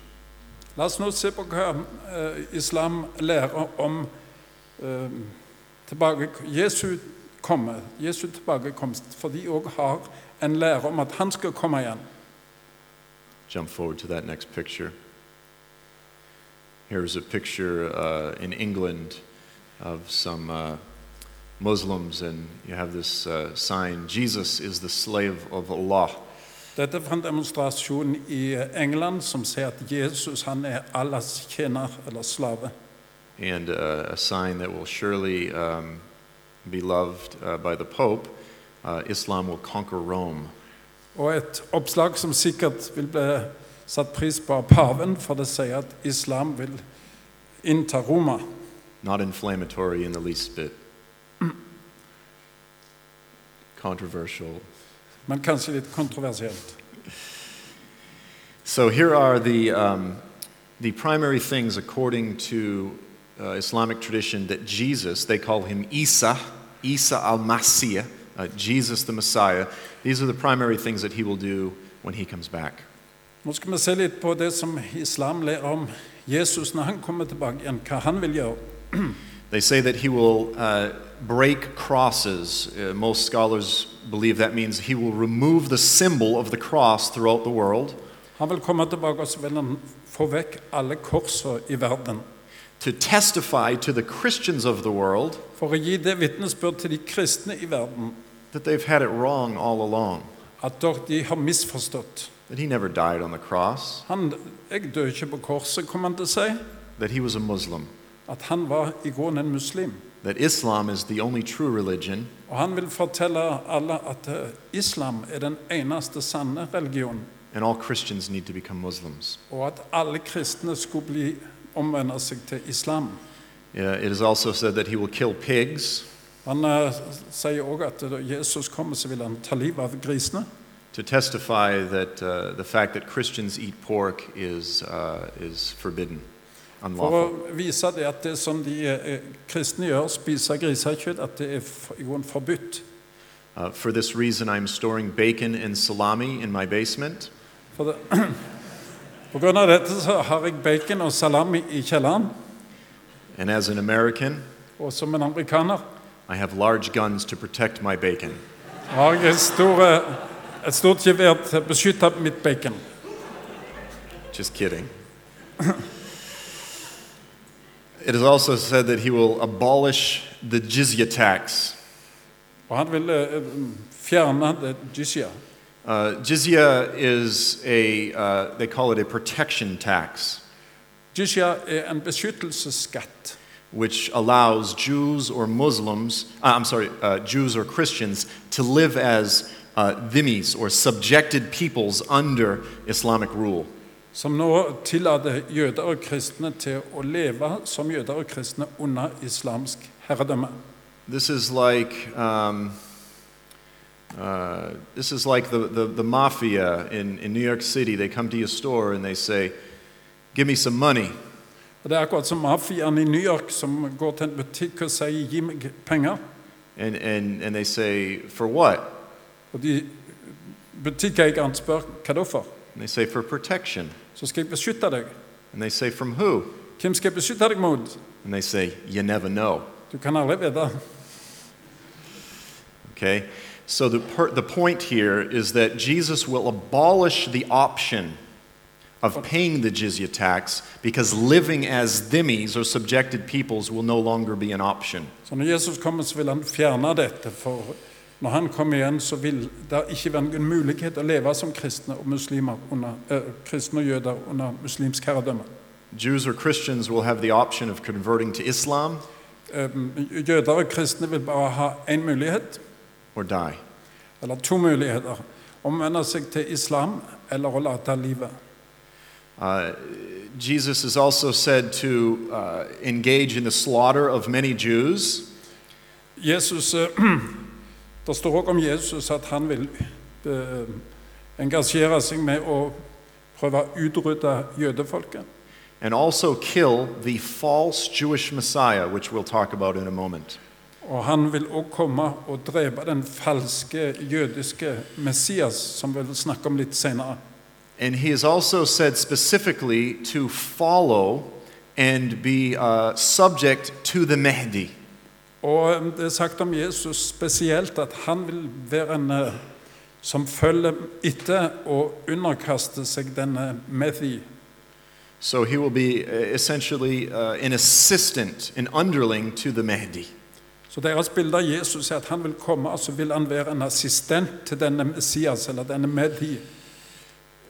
La oss nå se på hva eh, islam lærer om eh, tilbake, Jesu, komme, Jesu tilbakekomst, for de òg har en lære om at han skal komme igjen.
Jump forward to that next picture. Here's a picture uh, in England of some uh, Muslims, and you have this uh, sign Jesus is the slave of Allah.
Dette er fra en demonstrasjon i England som sier at Jesus han er Allahs tjener eller slave.
and uh, a sign that will surely um, be loved uh, by the Pope, uh, Islam will conquer Rome.
Og et oppslag som sikkert vil bli satt pris på av paven, for det sier at islam vil innta Roma.
Not inflammatory in the least bit. Controversial.
Men kanskje litt kontroversielt.
So here are the, um, the primary things according to uh, Islamic tradition that Jesus, they call him Isa, Isa al Masih, uh, Jesus the Messiah. These are the primary things that he will do when he comes back.
Nå skal vi se litt på det som islam lærer om Jesus når han kommer tilbake igjen, hva han vil gjøre.
They say that he will uh, break crosses. Uh, most scholars believe that means he will remove the symbol of the cross throughout the world
Han vil komme tilbake og så vil han få vekk alle korsene i verden.
to testify to the Christians of the world
For å gi det vitnesbyrd til de kristne i verden
that they've had it wrong all along,
at dere- de har misforstått.
that he never died on the cross,
Han, 'Jeg dør ikke på korset', kom han til å si.
that he was a Muslim,
At han var i grunnen en muslim.
that Islam is the only true religion,
Og han vil fortelle alle at eh, islam er den eneste sanne religionen,
and all Christians need to become Muslims.
og at alle kristne skulle bli omvende seg til islam.
Uh, it is also said that he will kill pigs
Han eh, sier òg at da Jesus kommer, så vil han ta livet av grisene.
to testify that uh, the fact that Christians eat pork is, uh, is forbidden,
For å
unlawful.
vise det at det som de eh, kristne gjør, spise grisekjøtt, at det er f- i grunnen forbudt.
Uh, for this reason, I'm storing bacon and salami in my basement.
For det, på grunn av dette så har jeg bacon og salami i kjelleren,
And as an American,
og som en amerikaner
I have large guns to protect my bacon.
har jeg et stort, eh, et stort gevær til å beskytte mitt bacon.
Just kidding. it is also said that he will abolish the jizya tax.
Og han ville eh, fjerne det jizya.
Uh, jizya is a, uh, they call it a protection tax.
Jizya er en beskyttelsesskatt
which allows Jews or Muslims, uh, I'm sorry, uh, Jews or Christians to live as uh, dhimmis or subjected peoples under Islamic rule.
som nå tillater jøder og kristne til å leve som jøder og kristne under islamsk herredømme.
This is like, um, uh, this is like the, the, the mafia in, in New York City. They come to your store and they say, Give me some money.
Og Det er akkurat som mafiaen i New York som går til en butikk og sier 'gi meg penger'.
And, and, and they say, For what?
Og de butikkeierne spør hva da for.
And they say, For protection.
Så skal jeg beskytte deg.
And they say, From who?
Hvem skal jeg beskytte deg mot?
And they say, You never know.
Du kan aldri vite.
Okay? So the, per, the point here is that Jesus will abolish the option of paying the jizya tax because living as dhimmis or subjected peoples will no longer be an option.
Så når Jesus kommer, så vil han fjerne dette. For når han kommer igjen, så vil det ikke være noen mulighet å leve som kristne og, muslimer under, eh, kristne og jøder under muslimsk herredømme.
Jews or Christians will have the option of converting to Islam
Eh, jøder og kristne vil bare ha én mulighet,
or die.
eller to muligheter. Omvende seg til islam eller å late livet.
Uh, Jesus is also said to uh, engage in the slaughter of many Jews.
Jesus, eh, Det står også om Jesus at han vil eh, engasjere seg med å prøve å utrydde jødefolket.
and also kill the false Jewish Messiah, which we'll talk about in a moment.
Og han vil også komme og drepe den falske jødiske Messias, som vi vil snakke om litt senere.
And he is also said specifically to follow and be uh, subject to the Mahdi.
Og eh, det er sagt om Jesus spesielt at han vil være en eh, som følger etter og underkaster seg denne Methi.
So he will be uh, essentially uh, an assistant, an underling to the Mahdi.
Så deres bilde av Jesus er at han vil komme, og så vil han være en assistent til denne Messias, eller denne Methi.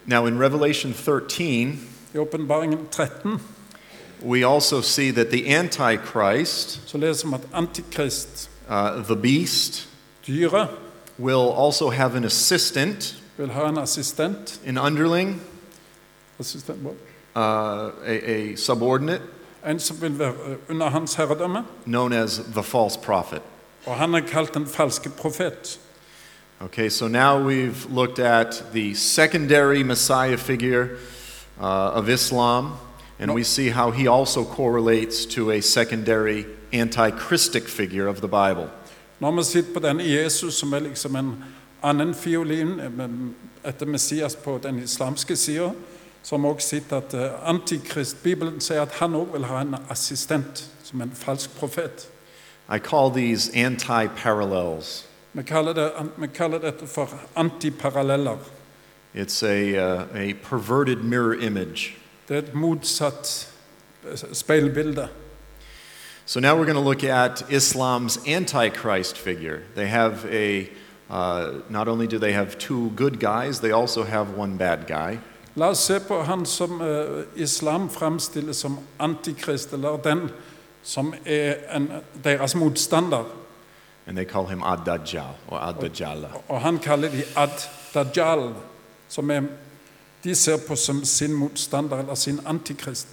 Now, in Revelation 13,
I åpenbaringen 13
we also see that the Antichrist,
så leser vi at Antikrist,
uh, the beast,
dyret,
will also have an assistant,
vil ha en assistent,
an underling,
assistent hva?
uh, a, a subordinate.
en som vil være under hans herredømme,
known as the false prophet.
og han er kalt den falske profet.
Okay, so now we've looked at the secondary Messiah figure uh, of Islam, and we see how he also correlates to a secondary anti-Christic figure of the Bible.
Nå har vi sett på denne Jesus, som er liksom en annen fiolin eh, men etter Messias på den islamske sida, så har vi også sett at eh, antikristbibelen sier at han òg vil ha en assistent, som en falsk profet.
I call these anti-parallels.
Vi kaller, det, vi kaller dette for antiparalleller.
It's a, uh, a perverted mirror image.
Det er et motsatt eh, speilbilde.
So now we're going to look at Islam's antichrist figure. They have a uh, not only do they have two good guys, they also have one bad guy.
La oss se på han som eh, islam framstiller som antikrist, eller den som er en, eh, deres motstander.
And they call him Ad-Dajjal or Ad-Dajjala.
Og han kaller de ad-dajjal, som er, de ser på som sin motstander, eller sin antikrist.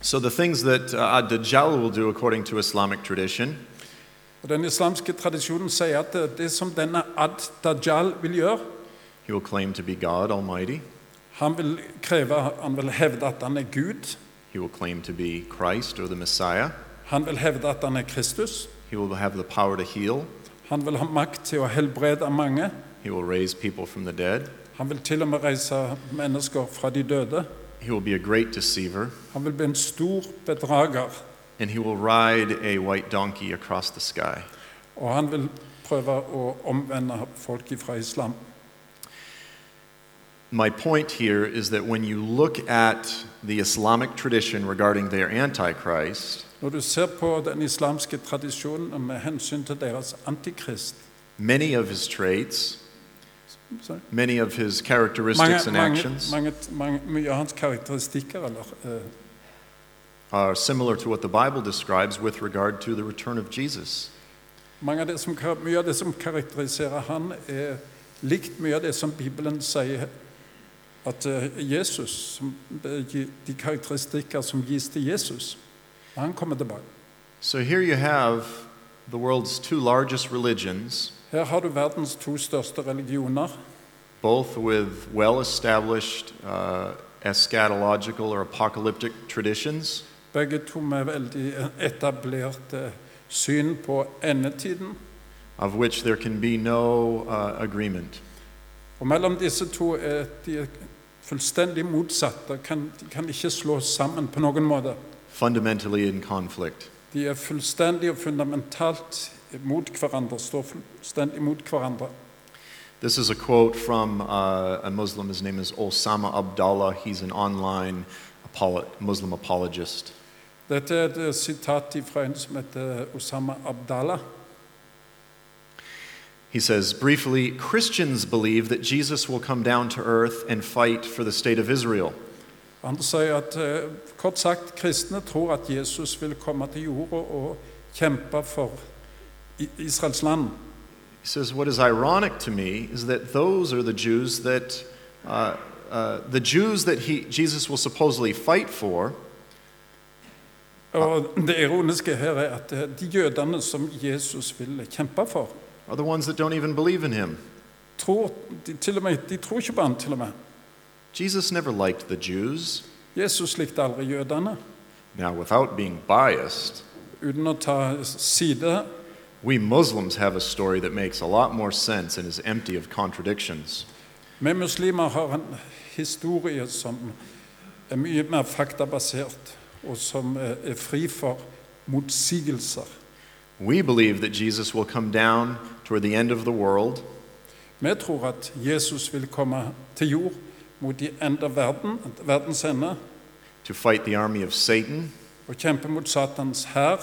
So the things that uh, Ad-Dajjal will do according to Islamic tradition
Og Den islamske tradisjonen sier at det, det som denne ad-dajjal vil gjøre,
he will claim to be God Almighty.
han vil kreve, han vil hevde at han er Gud,
He will claim to be Christ or the Messiah.
han vil hevde at han er Kristus,
He will have the power to heal.
han vil ha makt til å helbrede mange,
He will raise people from the dead.
han vil til og med reise mennesker fra de døde,
He will be a great deceiver.
han vil bli en stor bedrager,
And he will ride a white donkey across the sky.
og han vil prøve å omvende folk fra islam.
My point here is that when you look at the Islamic tradition regarding their Antichrist,
Når du ser på den islamske tradisjonen med hensyn til deres antikrist
many of his traits,
så-
many of his
mange,
characteristics and
mange,
actions,
mange, mange, Mye av hans karakteristikker eller, eh,
are similar to what the Bible describes with regard to the return of Jesus.
mange av det som, kar- Mye av det som karakteriserer han, er likt mye av det som Bibelen sier at eh, Jesus som, De de karakteristikker som gis til Jesus når han kommer tilbake.
So here you have the world's two largest religions,
Her har du verdens to største religioner,
both with well established uh, eschatological or apocalyptic traditions,
begge to med veldig eh, etablerte syn på endetiden.
of which there can be no uh, agreement.
Og mellom disse to er de er fullstendig motsatte. Kan, de kan ikke slås sammen på noen måte.
Fundamentally in conflict.
De er fullstendig og fundamentalt mot hverandre, står fullstendig mot hverandre.
This is a quote from uh, a Muslim. His name is Osama Abdallah. He's an online apolo- Muslim apologist.
Dette er et eh, sitat fra en som heter Osama Abdallah.
He says, briefly, Christians believe that Jesus will come down to earth and fight for the state of Israel.
Han sier at eh, kort sagt, kristne tror at Jesus vil komme til jorda og kjempe for I- Israels land.
He says, What is ironic to me is that those are the Jews that uh, uh, the Jews that he, Jesus will supposedly fight for
Og det ironiske her er at eh, de jødene som Jesus ville kjempe for,
are the ones that don't even believe in him.
tror, de, til og med, de tror ikke på han til og med.
Jesus never liked the Jews.
Jesus likte aldri jødene.
Now, without being biased,
Uten å ta side
we Muslims have a story that makes a lot more sense and is empty of contradictions.
Vi muslimer har en historie som er mye mer faktabasert, og som er er fri for motsigelser.
We believe that Jesus will come down toward the end of the world
Vi tror at Jesus vil komme til jord mot de ender verden, verdens ende
to fight the army of Satan,
og kjempe mot Satans hær,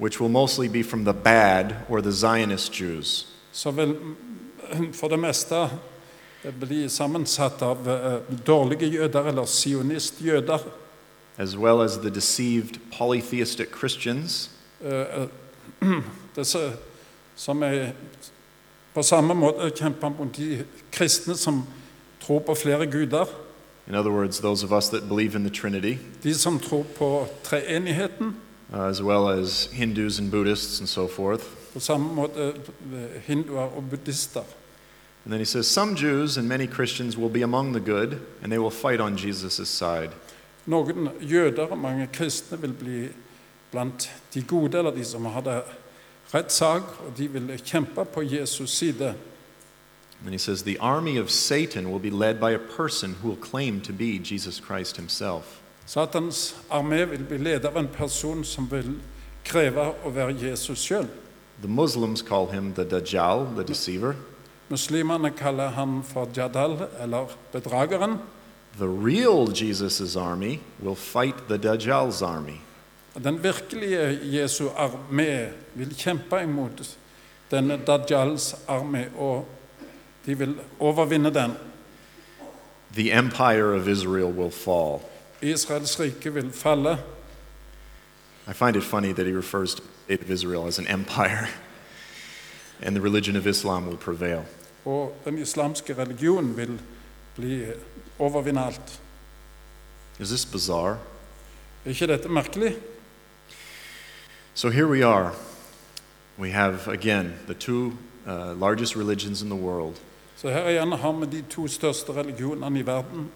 which will mostly be from the bad or the Zionist Jews.
som vil mm, for det meste eh, bli sammensatt av eh, dårlige jøder eller sionistjøder.
as well as the deceived polytheistic Christians
eh, eh, disse som er på samme måte kjemper mot de kristne som tror på flere guder,
in other words, those of us that believe in the Trinity,
de som tror på treenigheten,
uh, as well as Hindus and Buddhists and so forth.
på samme måte eh, hinduer og buddhister.
And then he says, Some Jews and many Christians will be among the good, and they will fight on Jesus' side.
Noen jøder og mange kristne vil bli blant de gode, eller de som hadde rett sak, og de vil kjempe på Jesus' side.
And then he says, The army of Satan will be led by a person who will claim to be Jesus Christ himself.
Satans armé vil bli ledet av en person som vil kreve å være Jesus sjøl.
The Muslims call him the Dajjal, the deceiver.
Muslimene kaller ham for Jadal, eller bedrageren.
The real Jesus' army will fight the Dajjal's army.
Den virkelige Jesu armé vil kjempe imot denne Dajjals armé, og de vil overvinne den.
The empire of Israel will fall.
Israels rike vil falle.
I find it funny that he refers to the state of Israel as an empire, and the religion of Islam will prevail.
Og den islamske religionen vil bli overvinne alt.
Is this bizarre?
Er ikke dette merkelig?
So here we are. We have, again, the two uh, largest religions in the world.
Så her igjen har vi de to største religionene i verden.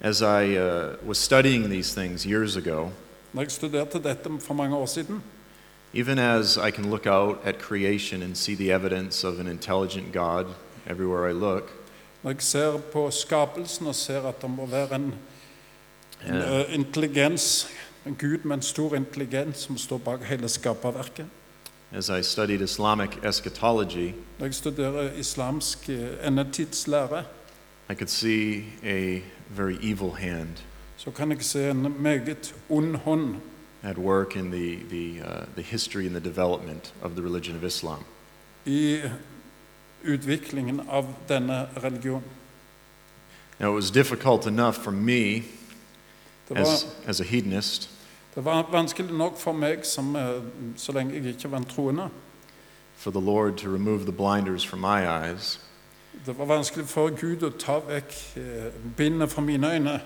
As I uh, was studying these things years ago,
Når jeg studerte dette for mange år siden,
even as I can look out at creation and see the evidence of an intelligent God everywhere I look,
når jeg ser på skapelsen og ser at det må være en En
uh,
eh, intelligens, en gud med en stor intelligens som står bak hele skaperverket.
as I studied Islamic eschatology,
Når jeg studerer islamsk eh, endetidslære,
I could see a very evil hand
så kan jeg se en meget ond hånd
at work in the, the, uh, the history and the development of the religion of Islam.
i utviklingen av denne religionen.
Now, it was difficult enough for me
Det var,
as, as a hedonist
det var vanskelig nok for meg, som, eh, så lenge jeg ikke var en troende.
for the Lord to remove the blinders from my eyes
Det var vanskelig for Gud å ta vekk eh, bindet fra mine øyne.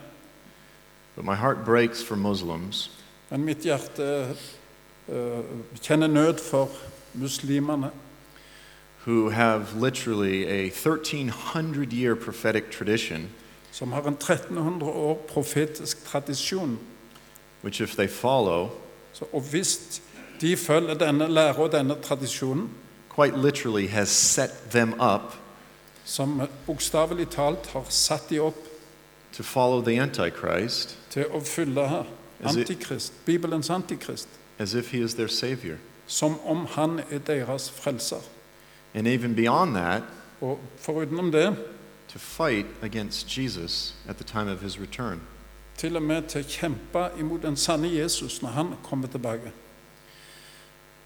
but my heart breaks for Muslims
Men mitt hjerte eh, kjenner nød for muslimene.
who have literally a 1300 year prophetic tradition
som har en 1300 år profetisk tradisjon.
which if they follow
Så, og hvis De følger denne lære og denne tradisjonen,
quite literally has set them up
som bokstavelig talt har satt de opp
to follow the Antichrist
til å fylle
Is it-
antikrist, Bibelens antikrist,
as if he is their Savior.
som om han er deres frelser.
And even beyond that,
Og forutenom det,
to fight against Jesus at the time of his return.
til og med til å kjempe imot den sanne Jesus når han kommer tilbake.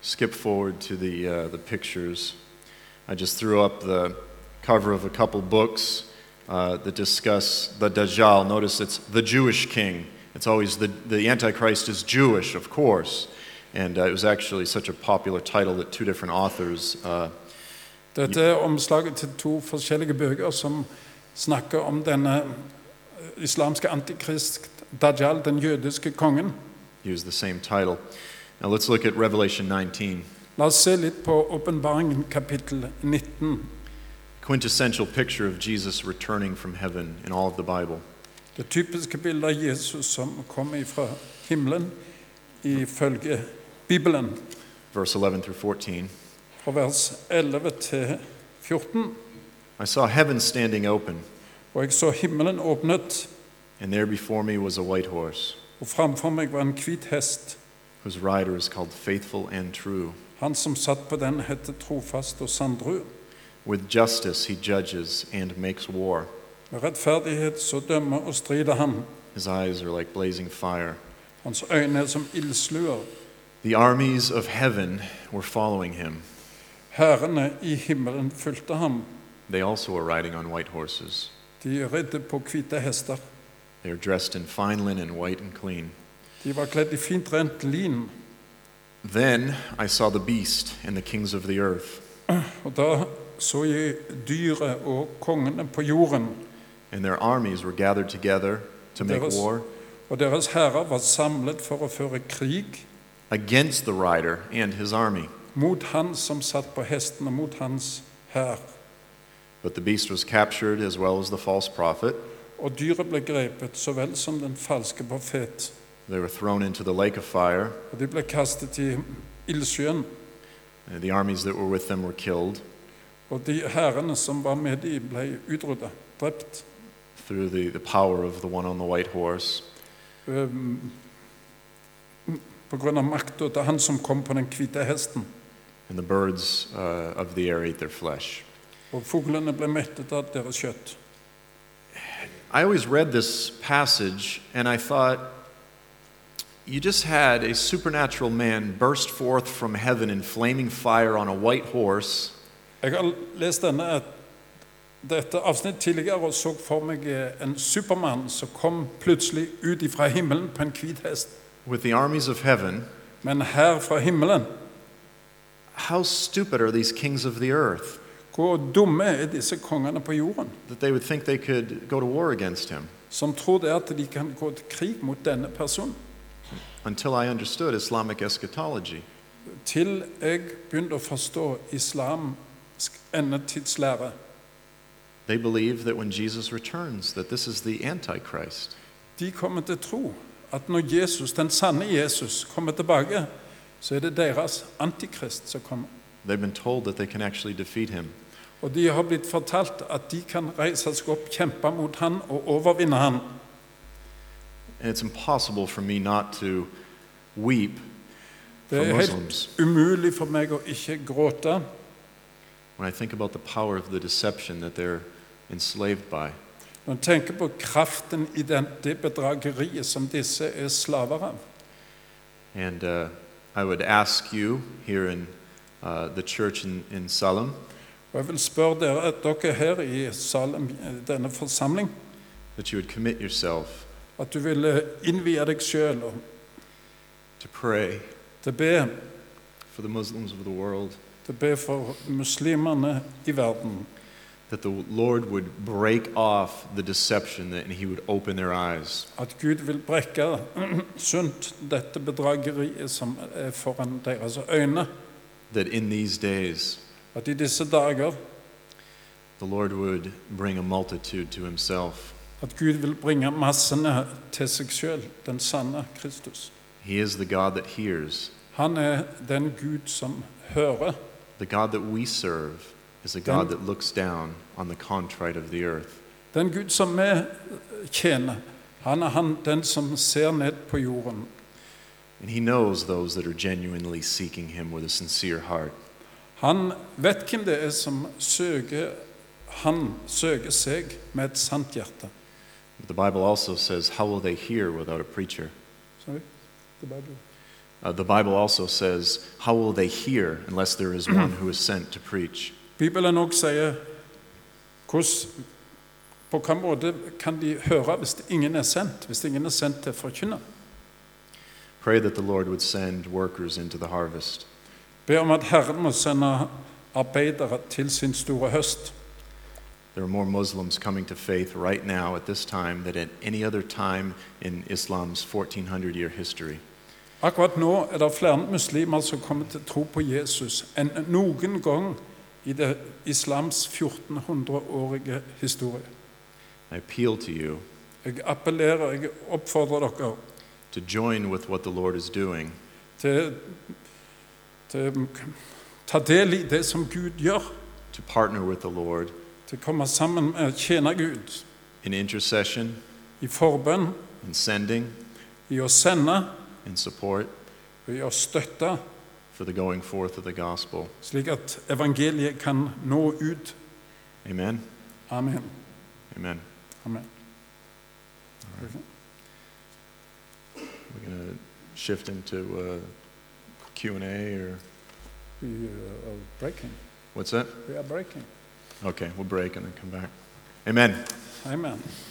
skip forward to the, uh, the pictures. I just threw up the cover of a couple books uh, that discuss the Dajjal. Notice it's the Jewish king. It's always the, the Antichrist is Jewish, of course. And uh, it was actually such a popular title that two different authors uh,
Dette er omslaget til to forskjellige bøker som snakker om denne eh, islamske antikrist Dajjal, den jødiske kongen.
used the same title. Now let's look at Revelation 19.
La oss se litt på åpenbaringen kapittel 19.
Quintessential picture of Jesus returning from heaven in all of the Bible.
Det typiske bildet av Jesus som kommer fra himmelen ifølge Bibelen,
Verse 11 through 14.
fra vers 11 til 14.
I saw heaven standing open,
Og jeg så himmelen åpnet,
and there before me was a white horse.
og framfor meg var en hvit hest.
whose rider is called Faithful and True.
Han som satt på den, het Trofast og Sandru.
With justice he judges and makes war.
Med rettferdighet så dømmer og strider han.
His eyes are like blazing fire.
Hans øyne er som ildsluer.
The armies of heaven were following him.
Herrene i himmelen fulgte ham.
They also are riding on white horses.
De ridde på hvite hester.
They are dressed in fine linen, white and clean.
De var kledd i fint rent lin.
Then I saw the beast and the kings of the earth,
Og da så jeg dyret og kongene på jorden,
and their armies were gathered together to make
There was-
war
og deres herrer var samlet for å føre krig
against the rider and his army.
mot han som satt på hesten, og mot hans hær.
But the beast was captured as well as the false prophet.
Og dyret ble grepet, så vel som den falske profet.
They were thrown into the lake of fire.
Og de ble kastet i ildsjøen.
Uh, The armies that were with them were killed.
Og de herrene som var med de, ble utrydda, drept,
through the, the power of the one on the white horse.
øhm, på grunn av makta til han som kom på den hvite hesten.
And the birds uh, of the air ate their flesh.
Og fuglene ble mettet av deres kjøtt.
I always read this passage and I thought, you just had a supernatural man burst forth from heaven in flaming fire on a white horse.
Jeg har lest denne, dette avsnitt tidligere og så for meg eh, en supermann som kom plutselig ut ifra himmelen på en hvit hest.
With the armies of heaven,
Men her fra himmelen
how stupid are these kings of the earth
Hvor dumme er disse kongene på jorden,
that they would think they could go to war against him?
som tror det at de kan gå til krig mot denne personen?
Until I understood Islamic eschatology.
Til jeg begynte å forstå islamsk endetidslære.
They believe that when Jesus returns, that this is the Antichrist.
De kommer til å tro at når Jesus, den sanne Jesus kommer tilbake, så er det deres antikrist som kommer.
They've been told that they can actually defeat him.
Og de har blitt fortalt at de kan reise seg opp, kjempe mot han og overvinne han.
And it's impossible for me not to weep
Det
for
er helt
Muslims
umulig for meg å ikke gråte
when I think about the power of the deception that they're enslaved by.
når en tenker på kraften i den, det bedrageriet som disse er slaver av.
And uh, I would ask you here in uh, the church in, in Salem
Og jeg vil spørre dere, at dere her i Salem, denne forsamling,
that you would commit yourself
at du ville innvie deg sjøl og
to pray
til be,
for the Muslims of the world,
til be for muslimene i verden.
that the Lord would break off the deception that, and He would open their eyes.
At Gud vil brekke sunt dette bedrageriet som er foran deres øyne.
That in these days,
At i disse dager
the Lord would bring a multitude to Himself.
at Gud vil bringe massene til seg sjøl, den sanne Kristus.
He is the God that hears,
Han er den Gud som hører.
The God that we serve is a God that looks down on the contrite of the earth.
Den Gud som vi tjener, han er han den som ser ned på jorden.
And He knows those that are genuinely seeking Him with a sincere heart.
Han vet hvem det er som søker han søker seg med et sant hjerte.
But the Bible also says, How will they hear without a preacher?
Sorry? The Bible.
Uh, the Bible also says, How will they hear unless there is one who is sent to preach?
Bibelen òg sier hvordan, på hvilken måte kan de høre hvis ingen er sendt, hvis ingen er sendt til forkynner.
Pray that the Lord would send workers into the harvest.
Be om at Herren må sende arbeidere til sin store høst.
There are more Muslims coming to faith right now at this time than at any other time in Islam's 1400 year history.
Akkurat nå er det flere muslimer som kommer til tro på Jesus enn noen gang i det islams 1400-årige historie.
I appeal to you
Jeg appellerer, jeg oppfordrer dere
to join with what the Lord is doing
til, til å ta del i det som Gud gjør,
to partner with the Lord
til å komme sammen med å tjene Gud
in intercession,
i forbønn,
in sending,
i å sende
in support
og i å støtte,
for the going forth of the gospel.
slik at evangeliet kan nå ut.
Amen.
Amen.
Amen.
Amen.
We're going to shift into uh, Q&A or
We are breaking.
what's that?
We are breaking.
Okay, we'll break and then come back. Amen.
Amen.